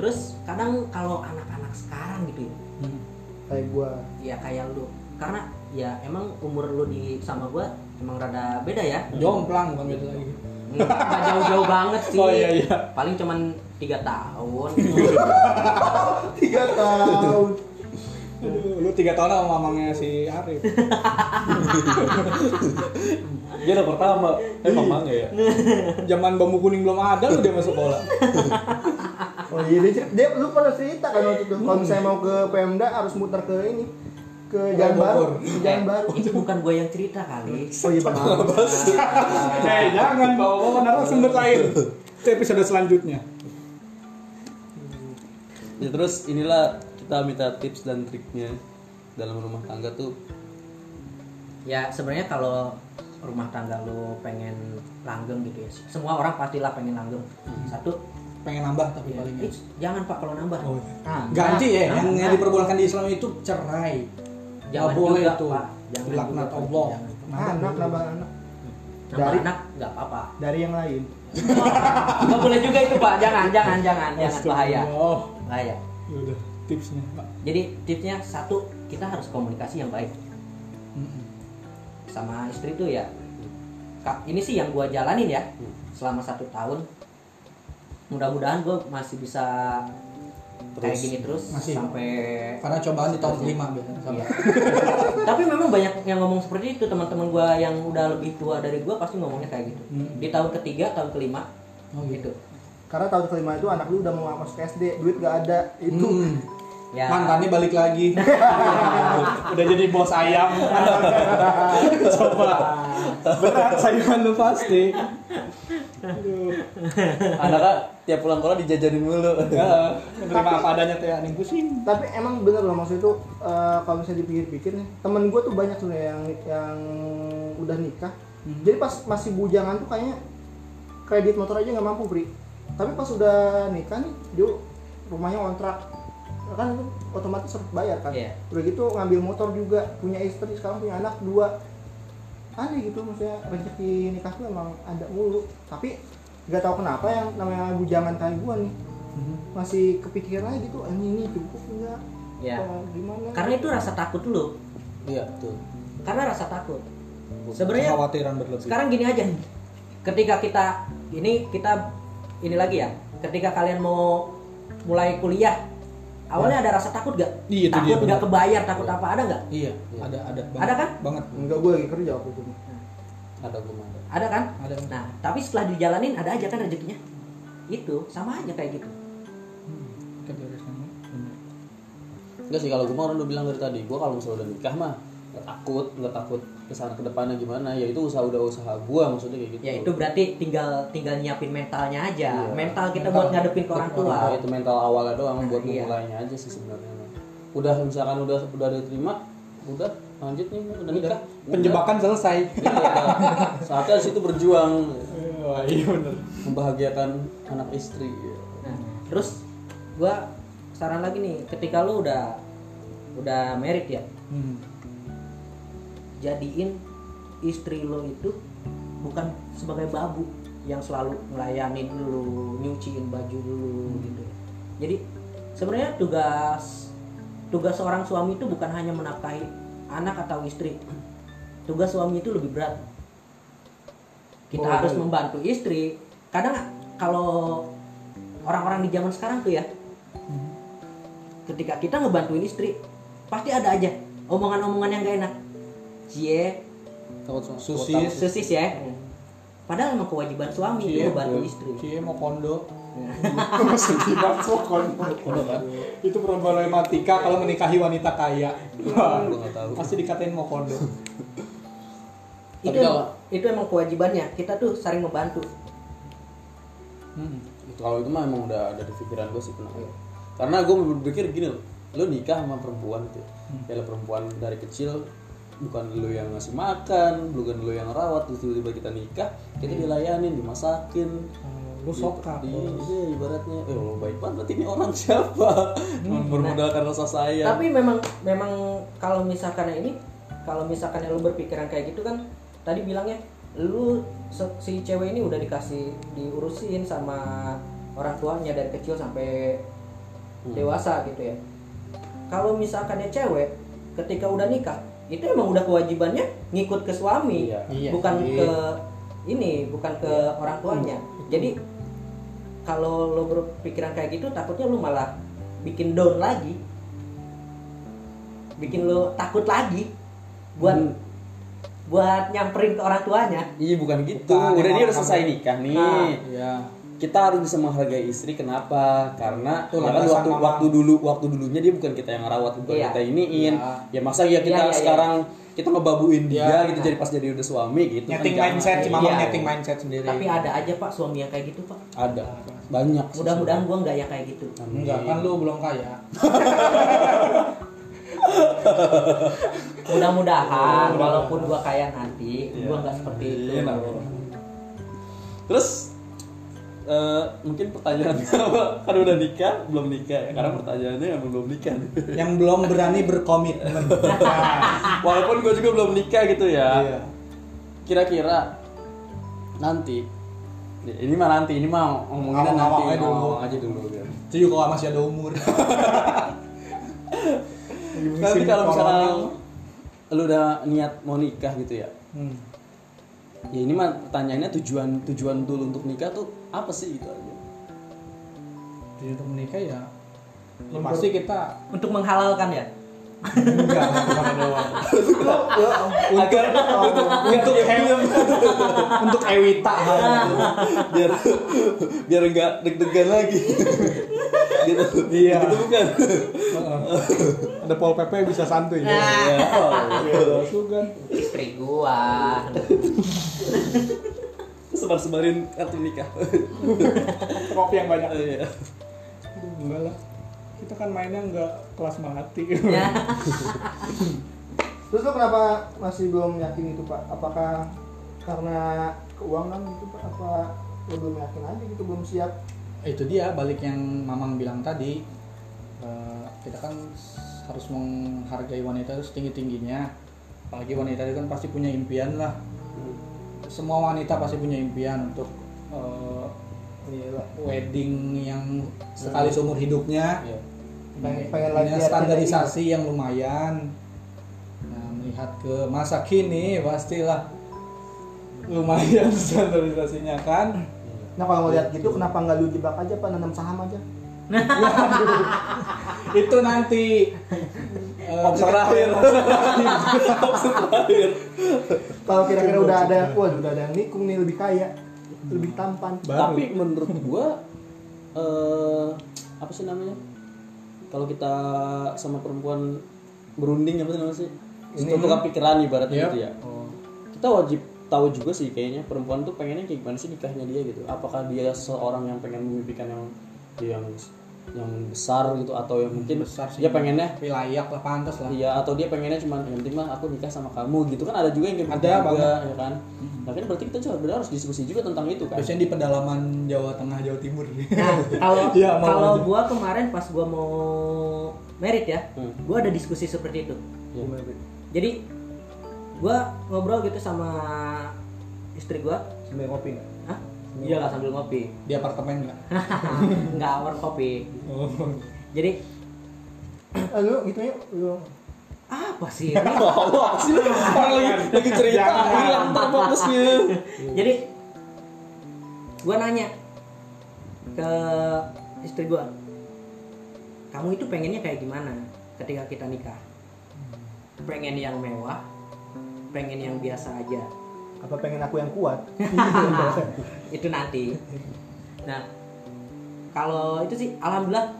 Terus kadang kalau anak-anak sekarang gitu ya,
Kayak gua.
ya kayak lu karena ya emang umur lu di sama gua emang rada beda ya.
Jomplang bukan gitu lagi.
Enggak jauh-jauh banget sih.
Oh, iya, iya.
Paling cuman tiga tahun.
Tiga tahun.
Aduh, Lu tiga tahun sama mamangnya si Arif.
dia udah pertama eh mamang ya
Zaman bambu kuning belum ada lu dia masuk sekolah.
Oh iya, dia, cer- dia lu pernah cerita kan waktu itu kalau misalnya mau ke Pemda harus muter ke ini ke Jalan Baru,
Bogor.
Ke
Eh,
Jalan Baru.
itu bukan gua yang cerita kali.
Oh iya bang.
eh jangan bawa-bawa narasumber lain. Itu episode selanjutnya.
Ya, terus inilah kita minta tips dan triknya dalam rumah tangga tuh
Ya sebenarnya kalau rumah tangga lu pengen langgeng gitu ya. Semua orang pastilah pengen langgeng. Satu,
Pengen nambah tapi Hmm.
ya,
paling
ih, jangan Pak kalau nambah.
Oh,
Nah,
Ganti ya,
nah,
yang
nah.
diperbolehkan di Islam itu cerai.
Jangan
Nggak boleh
juga,
itu.
Pak. Jangan
Laknat
juga, Pak.
Allah.
Jangan.
Anak nambah anak
Nambah
Dari-
anak nggak apa-apa.
dari yang lain.
Nggak boleh juga itu pak, jangan, jangan, jangan, jangan bahaya,
Oh,
bahaya.
ya udah tipsnya, Pak.
Jadi tipsnya satu, kita harus komunikasi yang baik sama istri itu ya. Kak, ini sih yang gua jalanin ya selama satu tahun. Mudah-mudahan gua masih bisa kayak
Terus.
gini terus
Masih.
sampai.
Karena cobaan di tahun kelima biasanya.
Iya.
sampai-
Tapi memang banyak yang ngomong seperti itu teman-teman gua yang udah lebih tua dari gua pasti ngomongnya kayak gitu.
Hmm.
Di tahun ketiga, tahun kelima,
Oh, gitu.
gitu.
Karena tahun kelima itu anak lu udah mau masuk SD, duit gak ada. Itu
Hmm.
Ya.
Mantannya balik lagi. Udah jadi bos ayam. Coba. Berat saingan lu pasti.
Anaknya tiap pulang sekolah dijajanin mulu.
Iya.
Ya, menerima apa adanya teh nih pusing.
tapi emang bener loh maksud itu eh, kalau misalnya dipikir-pikir nih temen gue tuh banyak sebenarnya yang yang udah nikah jadi pas masih bujangan tuh kayaknya kredit motor aja nggak mampu pri tapi pas udah nikah nih dia rumahnya kontrak kan itu otomatis harus bayar kan
Iya.
udah gitu ngambil motor juga punya istri sekarang punya anak dua aneh gitu maksudnya rezeki nikah tuh emang ada mulu tapi nggak tahu kenapa yang namanya bujangan kayak gue nih
Mm-hmm.
masih kepikiran aja gitu anjing ini cukup enggak
Ya.
Apa gimana
Karena itu rasa takut dulu.
Iya, betul.
Karena rasa takut. Sebenarnya
Kekhawatiran berlebih.
sekarang gini aja. Ketika kita ini kita ini lagi ya. Ketika kalian mau mulai kuliah, awalnya ada rasa takut gak?
Iya, Ya. itu dia,
takut nggak
benar.
kebayar, takut apa ada nggak?
Iya, ada ada banget.
Ada kan?
Banget.
enggak gue lagi kerja aku
Ya.
tuh
Ada gimana?
Ada kan?
Ada.
Nah, tapi setelah dijalanin ada aja kan rezekinya. Itu sama aja kayak gitu.
Kita beres ngomong. Bener.
Enggak sih kalau gue mah orang udah bilang dari tadi, gue kalau misalnya udah nikah mah nggak takut, nggak takut kesana kedepannya gimana, ya itu usaha udah usaha gue maksudnya kayak gitu.
Ya itu berarti tinggal tinggal nyiapin mentalnya aja.
Iya.
Mental kita
Mental.
buat ngadepin ke orang tua.
Nah, itu mental awalnya doang buat
Iya.
memulainya aja sih sebenarnya. Udah misalkan udah udah diterima, udah lanjut nih udah nikah. Udah.
Penjebakan selesai.
Iya. Saatnya di situ berjuang
Wah, iya bener.
membahagiakan anak istri. Iya.
Nah, terus gua saran lagi nih, ketika lu udah udah merit ya,
Hmm.
jadiin istri lo itu bukan sebagai babu yang selalu ngelayanin dulu, nyuciin baju dulu gitu. Jadi sebenarnya tugas tugas seorang suami itu bukan hanya menafkahi anak atau istri. Tugas suami itu lebih berat. Kita harus membantu istri. Kadang kalau orang-orang di zaman sekarang tuh ya, ketika kita ngebantuin istri, pasti ada aja omongan-omongan yang gak enak. Cie,
Takut sama
Susis.
sosis ya. Padahal emang kewajiban suami itu
Iya,
ngebantu
betul.
istri.
Cie mau kondo. Iya. Sedih banget mau kondo. kan? Itu problematika kalau menikahi wanita kaya. Wah,
Iya, Gua nggak tahu.
Pasti dikatain mau kondo.
Itu
Tapi kalau-
itu emang kewajibannya. Kita tuh saling membantu.
Hmm.
Itu kalau itu mah emang udah ada di pikiran gue sih kenapa. ya? Karena gue berpikir gini loh, lo nikah sama perempuan gitu.
Hmm.
Ya lah, perempuan dari kecil bukan lo yang ngasih makan, bukan lo yang rawat, terus tiba-tiba kita nikah, kita dilayanin, dimasakin,
Hmm. eh, Lu sokap.
Iya, iya, ibaratnya, eh lo baik banget, berarti ini orang siapa?
Hmm.
Cuma bermodalkan rasa
Iya.
sayang.
Tapi memang memang kalau misalkan yang ini kalau misalkan yang lu berpikiran kayak gitu kan tadi bilangnya lu se- si cewek ini udah dikasih diurusin sama orang tuanya dari kecil sampai
Hmm.
dewasa gitu ya. Kalau misalkan ya cewek ketika udah nikah itu emang udah kewajibannya ngikut ke suami,
Iya.
Iya.
bukan
Iya.
ke ini, bukan ke orang tuanya. Jadi kalau lo berpikiran kayak gitu takutnya lo malah bikin down lagi bikin lo takut lagi buat buat nyamperin ke orang tuanya
Iya bukan gitu.
Bukan,
udah
emang
dia udah
kamu-
selesai nikah nih.
Ah,
Iya.
Kita harus bisa menghargai istri kenapa? Karena
Itu
ya kan
landasan
waktu
mama.
waktu dulu waktu dulunya dia bukan kita yang ngerawat, bukan
Iya.
kita iniin. Ya masa ya
Iya,
kita
iya, iya.
sekarang kita ngebabuin dia
Iya.
gitu jadi pas jadi udah suami gitu. kan
Nyeting
jangan.
mindset, si
Iya.
mama
Iya.
nyeting mindset sendiri.
tapi ada aja pak suami yang kayak gitu pak
Ada banyak. sih
mudah-mudahan gua nggak yang kayak gitu
sebenarnya. Amin.
Enggak, kan lu belum kaya.
mudah-mudahan walaupun gua kaya nanti gua nggak seperti itu
Iya, nah. Terus eh, mungkin pertanyaannya apa? Kan udah nikah, belum nikah ya? Karena pertanyaannya yang belum nikah.
Yang belum berani berkomitmen. Nah,
Walaupun gue juga belum nikah gitu ya.
Iya.
kira-kira nanti ya, ini mah nanti ini mah ngomonginnya nanti
Ngomong-ngomong aja dulu.
ngomong aja dulu ya. biar.
Itu juga masih ada umur.
nanti kalau misalnya lu udah niat mau nikah gitu ya
Hmm.
ya ini mah pertanyaannya tujuan tujuan dulu untuk nikah tuh apa sih gitu aja
Jadi untuk menikah ya, ya pasti kita
untuk menghalalkan ya
enggak bukan doang.
Ya, oh.
untuk untuk untuk Ew- untuk Ewita hal itu.
biar biar nggak deg-degan lagi gitu
Iya.
gitu bukan
ada Pol PP bisa santuy. Ya.
Nah. Ah. Oh, iya.
Sugan.
istri gua
sebar-sebarin kartu nikah.
kopi yang banyak
Iya.
Aduh, enggak lah kita kan mainnya enggak kelas melati
Ya.
Terus lo kenapa masih belum yakin itu pak? Apakah karena keuangan gitu pak? Apa lo belum yakin aja gitu belum siap?
itu dia balik yang mamang bilang tadi eh, kita kan s- harus menghargai wanita itu setinggi tingginya apalagi wanita itu kan pasti punya impian lah semua wanita pasti punya impian untuk eh, wedding yang sekali seumur hidupnya
Iya.
Pengen- pengen
Nah, punya
latihan
standarisasi yang lumayan nah melihat ke masa kini pastilah lumayan standarisasinya kan
Nah kalau ngeliat gitu kenapa nggak lu jebak aja pak nanam saham aja?
itu nanti eh,
Opsi terakhir. Opsi terakhir.
Kalau kira-kira udah ada, wah udah ada yang nikung nih lebih kaya, lebih tampan.
baru
Tapi menurut gua eh apa sih namanya? Kalau kita sama perempuan berunding apa sih namanya sih?
Ini- Iya. Oh.
Itu tukar pikiran ibaratnya
Yep.
gitu ya. Kita wajib tahu juga sih kayaknya perempuan tuh pengennya kayak gimana sih nikahnya dia gitu. Apakah dia seorang yang pengen memimpikan yang yang yang besar gitu atau yang mungkin
besar sih
dia pengennya
tapi layak lah pantas lah
Iya atau dia pengennya cuma yang penting mah aku nikah sama kamu gitu kan ada juga yang kayak
Ada
begitu juga,
banget.
ya kan. Nah kan berarti kita juga benar harus diskusi juga tentang itu kan.
biasanya di pedalaman Jawa Tengah Jawa Timur
Nah, kalau
Iya, mau
kalau
aja.
gua kemarin pas gua mau merit ya,
Hmm.
gua ada diskusi seperti itu.
Iya.
Jadi gua ngobrol gitu sama istri gua,
Sambil kopi nggak?
Hah? Iyalah sambil ngopi.
di apartemen nggak
Enggak warung kopi.
oh.
Jadi
Eh, lu gitu ya, lu
apa sih?
Wah, apa sih lu? orang lagi lagi gitu. cerita
Jangan.
hilang ntar fokusnya.
Jadi gua nanya ke istri gua, kamu itu pengennya kayak gimana ketika kita nikah? Pengen yang mewah, pengen yang biasa aja.
apa pengen aku yang kuat?
itu nanti. Nah, kalau itu sih alhamdulillah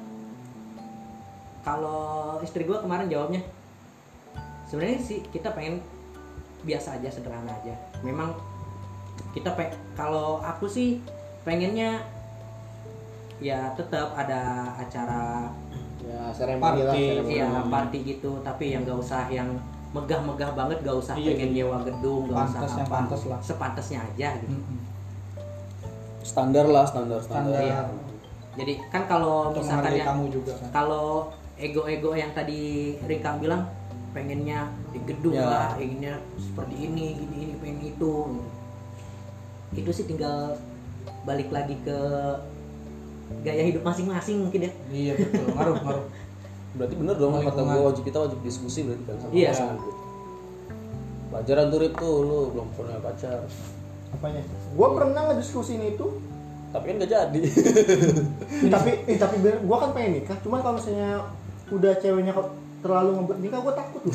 kalau istri gua kemarin jawabnya sebenarnya sih kita pengen biasa aja sederhana aja. Memang kita pe- kalau aku sih pengennya ya tetap ada acara
Ya, seremoni lah,
Party.
seremoni.
ya party gitu tapi yang gak usah yang megah-megah banget gak usah
Iya,
pengen nyewa gedung gak usah
Pantes yang
apa.
pantes lah.
sepantasnya aja gitu
Mm-mm.
Standar lah standar standar.
Iya.
standar
Jadi kan kalau
untuk
misalkan
menghargai
ya
kamu juga kan
kalau ego-ego yang tadi Rikang bilang pengennya di gedung
Ya.
lah, pengennya seperti ini, gini ini, pengen itu. Itu sih tinggal balik lagi ke gaya hidup masing-masing mungkin ya.
iya betul ngaruh ngaruh
Berarti bener dong kata
Lingkungan.
gua wajib kita wajib diskusi berarti kan sama
Iya.
pasangan gitu. Pelajaran tuh Rip tuh lu belum pernah pacar.
Apanya? Gua pernah ngediskusin itu,
Tapi kan gak jadi.
Iya.
Ih, tapi eh, tapi bener, gua kan pengen nikah, cuman kalau misalnya udah ceweknya kok terlalu ngebuat nikah gua takut loh.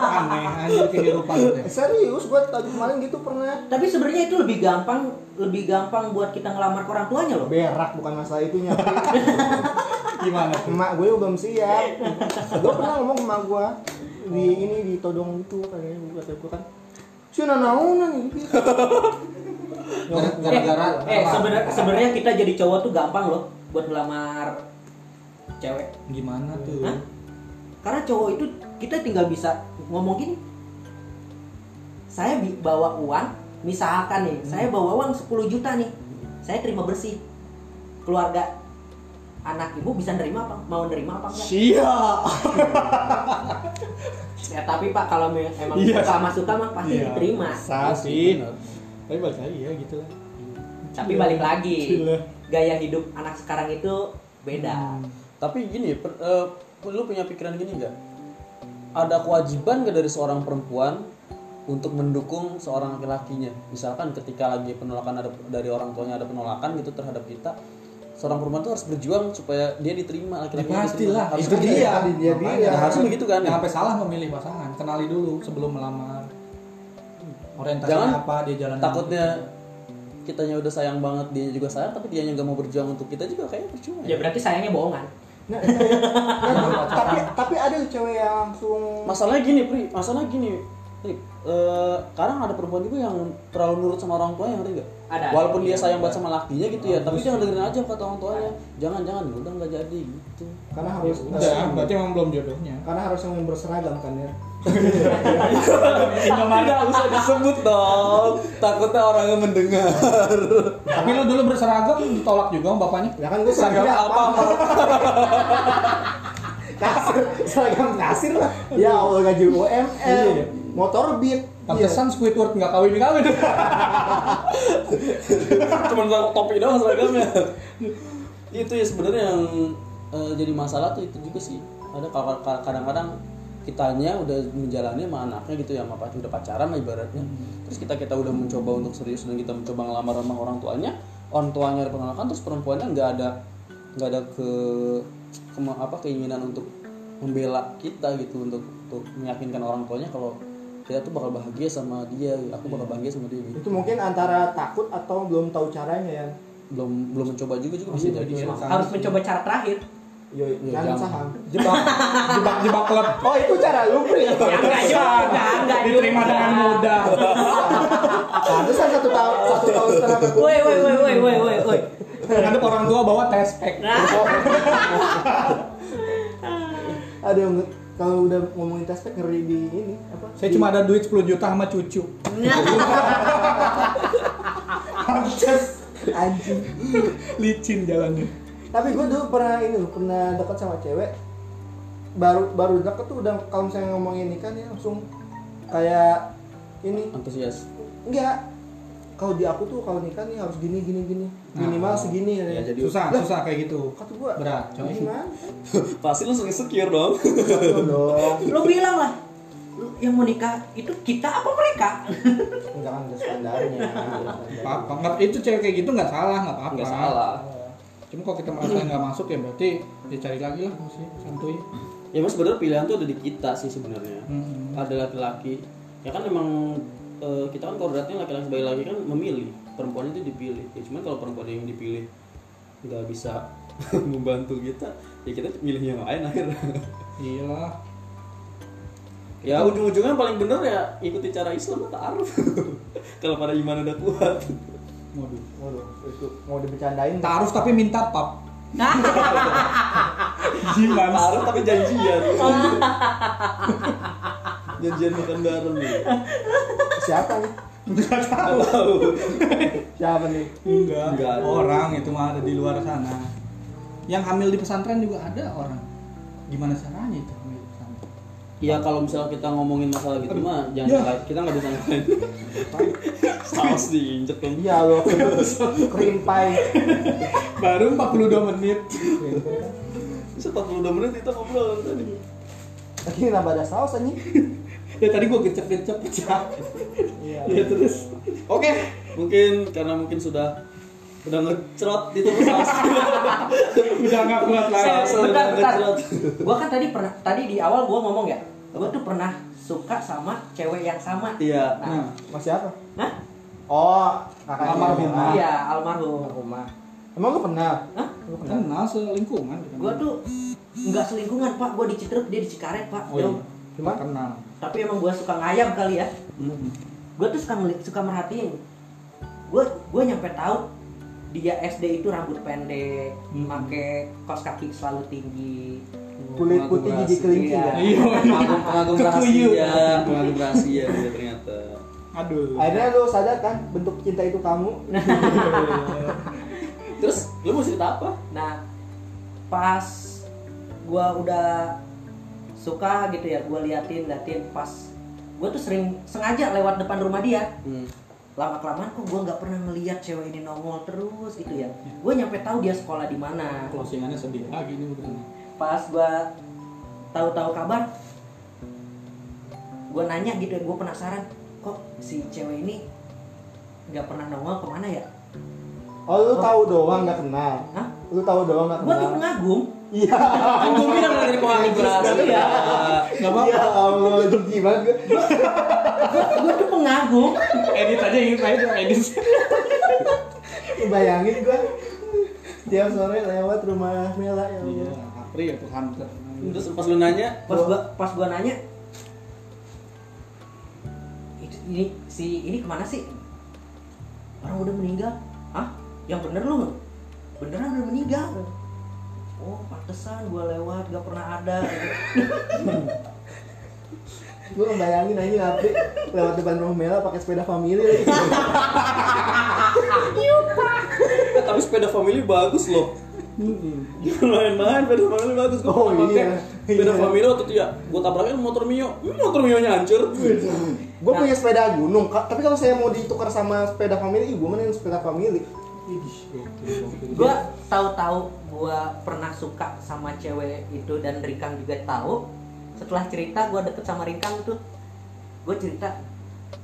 aneh anjir kehidupan gitu ya.
Serius, gua tadi kemarin gitu pernah
Tapi sebenarnya itu lebih gampang, lebih gampang buat kita ngelamar ke orang tuanya loh.
berak bukan masalah itunya.
gimana tuh
emak gue belum siap gue pernah ngomong sama emak gue di ini di todong itu kayaknya gue kata gue kan Cina nauna nih gitu.
gara-gara apa?
Eh, sebenar- sebenarnya kita jadi cowok tuh gampang loh buat ngelamar cewek.
gimana tuh
Hah? Karena cowok itu kita tinggal bisa ngomong gini. Saya bi- bawa uang,
Hmm.
misalkan nih, saya bawa uang 10 juta nih. Saya terima bersih. Keluarga anak ibu bisa nerima apa? Mau nerima apa enggak?
Sia.
Ya, tapi Pak kalau me- emang
Iya.
suka sama suka mah pasti
Iya,
diterima.
Bisa sih. Tapi balik lagi ya gitu lah.
Tapi balik lagi,
Iya. Gila. Hmm.
gaya hidup anak sekarang itu beda.
Tapi gini, per, eh, lu punya pikiran gini nggak? Ada kewajiban gak dari seorang perempuan untuk mendukung seorang laki-lakinya? Misalkan ketika lagi penolakan ada dari orang tuanya ada penolakan gitu terhadap kita, seorang perempuan tuh harus berjuang supaya dia diterima kan
Ya
laki-laki.
pastilah,
harus
itu
dia.
dia.
Tadi dia
Makanya
bilang.
Harusnya begitu kan, ya?
Jangan sampai salah memilih pasangan. Kenali dulu sebelum melamar.
Jangan
Orientasinya apa dia jalan.
Takutnya kitanya udah sayang banget, dia juga sayang, tapi dia nggak mau berjuang untuk kita juga kayaknya percuma. Ya.
Ya berarti sayangnya bohongan.
Nah, nah, tapi tapi ada tuh cewek yang langsung
Masalahnya gini, Pri. Masalahnya gini. Rip, eh, kadang ada perempuan juga yang terlalu nurut sama orang tuanya ngerti gak?
Ada, ada.
Walaupun dia
Iya,
sayang
ada. Oh, iya.
banget sama lakinya gitu ya, tapi jangan dengerin aja kata orang tuanya. Jangan jangan, Ya udah nggak jadi gitu.
Karena harus
Udah,
Iya.
berarti emang belum jodohnya.
karena harus yang berseragam kan ya.
Tidak usah disebut dong, takutnya orangnya mendengar.
Tapi lu dulu berseragam ditolak juga sama bapaknya. Iya.
Ya kan gue
Seragam
seragamnya
apa?
apa? Kasir, seragam kasir lah. Ya Allah gaji UML,
Iya.
ya. motor beat.
Iya.
Pantesan Squidward nggak kawin kawin.
Cuman sama topi doang seragamnya. itu ya sebenarnya yang eh, jadi masalah tuh itu juga sih. Ada kal- kal- kadang-kadang kitanya udah menjalani sama anaknya gitu ya, sama pac- udah pacaran lah ibaratnya. Terus kita kita udah mencoba untuk serius dan kita mencoba ngelamar sama orang tuanya, orang tuanya ada penolakan terus perempuannya nggak ada nggak ada ke, kema- apa keinginan untuk membela kita gitu untuk untuk meyakinkan orang tuanya kalau kita tuh bakal bahagia sama dia, aku bakal bahagia sama dia gitu.
Iya. Itu mungkin antara takut atau belum tahu caranya ya.
belum belum mencoba juga juga bisa jadi sih.
harus mencoba cara terakhir
Yo,
Iya,
nanam
jangan.
saham.
Jebak, jebak, jebak klub.
Oh itu cara lu, Pri.
ya enggak juga enggak juga.
Diterima dengan mudah.
Pantesan satu tahun satu tahun setengah berkurang.
woi woi woi woi woi woi woi
Ada orang tua bawa test pack.
Aduh, nge- kalau udah ngomongin tespek ngeri di ini apa?
Saya
Di-
cuma ada duit 10 juta sama cucu. Pantes
anjing.
licin jalannya.
Tapi gue dulu pernah ini loh, pernah deket sama cewek. Baru baru deket tuh udah kalau misalnya ngomongin nikah nih langsung kayak ini
antusias
enggak kalau di aku tuh kalau nikah nih harus gini gini gini minimal segini ya,
ya jadi
Susah, susah kayak gitu.
kata gua
Nah. Iya, Berat, coy.
gimana
pasti langsung insecure dong
Betul dong
lu bilang lah lu yang mau nikah itu kita apa mereka
enggak kan ada standarnya
Apa? Nggak, itu cewek kayak gitu nggak salah, nggak apa-apa.
nggak salah
Cuma kalau kita merasa nggak masuk ya berarti ya cari lagi lah masih santuy.
ya mas sebenarnya pilihan tuh ada di kita sih sebenarnya
Hmm.
ada laki-laki ya kan emang eh, kita kan kodratnya laki-laki sebagai laki kan memilih perempuan itu dipilih ya cuman kalau perempuan yang dipilih nggak bisa membantu kita ya kita milih yang lain akhirnya
Iya lah.
ya ujung-ujungnya paling bener ya ikuti cara Islam atau arif kalau pada iman udah kuat
Waduh.
Waduh, itu mau dibercandain
Taruh tapi minta pap.
Gimana? Taruh tapi janjian. janjian makan bareng nih.
siapa nih
Nggak tahu.
Tahu.
siapa nih
Enggak.
Nggak ada.
Orang itu mah ada di luar sana. Yang hamil di pesantren juga ada orang. Gimana caranya itu hamil di pesantren?
Ya kalau misalnya kita ngomongin masalah gitu mah jangan
Ya.
nyalain- kita nggak bisa nyalain. Saus diinjek dong.
iya lo cream pie
Baru 42 menit.
Bisa 42 menit kita ngobrol tadi.
lagi nambah ada saus anjing
ya tadi gua gecek-gecek pecah.
iya
ya terus.
Oke, mungkin karena mungkin sudah udah ngecerot di tubuh saus.
Udah nggak kuat lagi.
Saus udah
bentar bentar
ngecerot.
gua kan tadi pernah tadi di awal gua ngomong ya gua tuh pernah suka sama cewek yang sama
Iya.
nah
mas siapa
Hah?
oh kakaknya
Almarhumah.
Mira.
iya almarhum
almarhumah emang lu kenal
Hah?
lu kenal
Kenal selingkungan. kita.
gua tuh nggak selingkungan pak gua di Citerep dia di Cikaret pak
Oh iya.
Jauh.
Cuma?
kenal.
tapi emang gua suka ngayam kali ya
Hmm.
gue tuh suka ngeli- suka merhatiin gue gue nyampe tahu dia SD itu rambut pendek
Hmm.
pakai kaos kaki selalu tinggi
kulit putih gigi kelinci
Iya.
ya
Iya.
Pengagum pengagum
Ketuyuk.
rahasia, pengagum rahasia dia ternyata.
Aduh.
akhirnya lu sadar kan bentuk cinta itu kamu
Terus lu mau cerita apa?
nah pas gue udah suka gitu ya gue liatin liatin pas gue tuh sering sengaja lewat depan rumah dia
Hmm.
lama kelamaan kok gue nggak pernah ngeliat cewek ini nongol terus gitu ya gue nyampe tahu dia sekolah di mana
Closingannya sedih lagi nih bukan.
pas gua tahu-tahu kabar gua nanya gitu ya, gua penasaran kok si cewek ini nggak pernah nongol kemana ya
oh lu tahu doang nggak kenal
Hah?
lu tahu doang nggak
gua
kenal
tuh pengagum
iya
Kan gue bilang dari pengagum rahasia.
Enggak
ya
apa-apa.
allah jijik banget gue
gua tuh pengagum
Edit aja ini aja edit.
Lu bayangin gue tiap sore lewat rumah Mela ya Allah.
Iya, Apri ya tuh
Hmm.
hunter.
Terus pas lu nanya,
pas gua pas gua nanya ini si ini kemana sih orang udah meninggal ah yang bener lu beneran udah meninggal oh pantesan gue lewat gak pernah ada
Gue ngebayangin aja nanti lewat depan rumah Mela pakai sepeda family.
Eh, tapi sepeda family bagus loh. Main-main sepeda family bagus. Gua
Hmm. Oh,
pernah pakai
iya.
Sepeda
Iya.
family waktu itu ya, gue tabrakin motor Mio. Hmm, motor Mio nya hancur.
gue punya sepeda gunung, Kak. tapi kalau saya mau ditukar sama sepeda family, gue mending sepeda family.
gue tahu-tahu gue pernah suka sama cewek itu dan Rikang juga tahu setelah cerita gue deket sama Rikang tuh gue cerita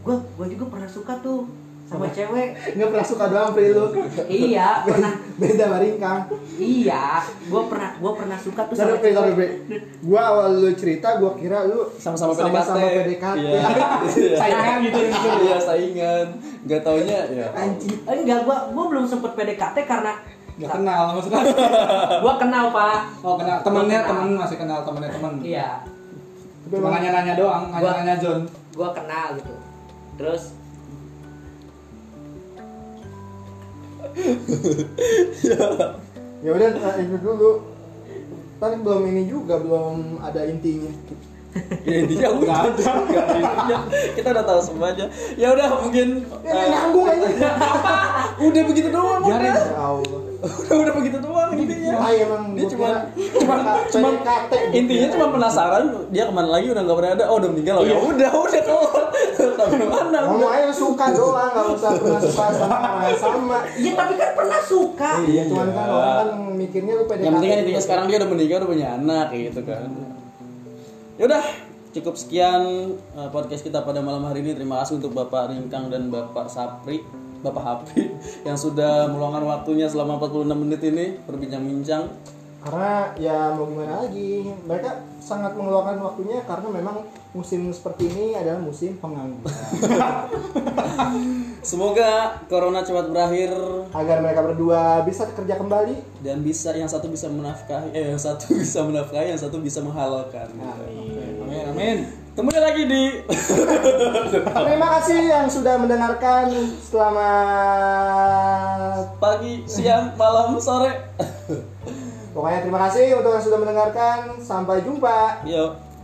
gue gue juga pernah suka tuh sama cewek
Nggak pernah suka doang, Pri lu.
iya pernah
Beda baringkang.
iya gue pernah gue pernah suka tuh
Sorry,
sama
Pri, sorry,
cewek.
Pri. Gue awal lu cerita, gue kira lu
Sama-sama PDKT.
sama-sama PDKT.
Iya.
saingan gitu ya
Iya, saingan. Gak taunya ya.
Anjing.
Eh, enggak gue gue belum sempet PDKT karena
nggak kenal maksudnya
gue kenal pak
oh kenal temennya
Kenal.
temen masih kenal temennya temen
iya
Tapi
cuma
emang-
nanya nanya doang nanya nanya John
gue kenal gitu terus
Ya udah, nah, itu dulu. Tadi belum ini juga, belum ada intinya.
Ya intinya gue
Nggak ada.
Nggak ada intinya. Kita udah tahu semuanya. Ya udah mungkin
Ya,
eh,
nyambung aja.
udah begitu doang.
Biarin.
Udah.
Ya Allah.
udah udah begitu doang intinya.
Ah, emang
Iya. dia
gua
cuma
kira
cuma cuma
PDKT.
intinya cuma penasaran dia kemana lagi udah nggak pernah ada oh udah meninggal oh
Iya.
ya udah udah keluar sampai mana
Ngomong aja suka doang, nggak usah pernah suka sama orang yang sama.
iya tapi kan pernah suka
Iya, cuman kan orang kan mikirnya lu PDKT.
yang penting kan
gitu.
intinya sekarang dia udah menikah udah punya anak kayak gitu kan yaudah cukup sekian eh, podcast kita pada malam hari ini terima kasih untuk bapak Ringkang dan bapak Sapri bapak Hapi yang sudah meluangkan waktunya selama 46 menit ini berbincang-bincang
karena ya mau gimana lagi mereka sangat mengeluarkan waktunya karena memang musim seperti ini adalah musim pengangguran
semoga corona cepat berakhir
agar mereka berdua bisa kerja kembali
dan bisa yang satu bisa menafkahi eh yang satu bisa menafkahi yang satu bisa menghalalkan gitu.
amin amin
Temunya lagi di
terima kasih yang sudah mendengarkan selamat
pagi, siang, malam, sore.
pokoknya terima kasih untuk yang sudah mendengarkan sampai jumpa
Yuk.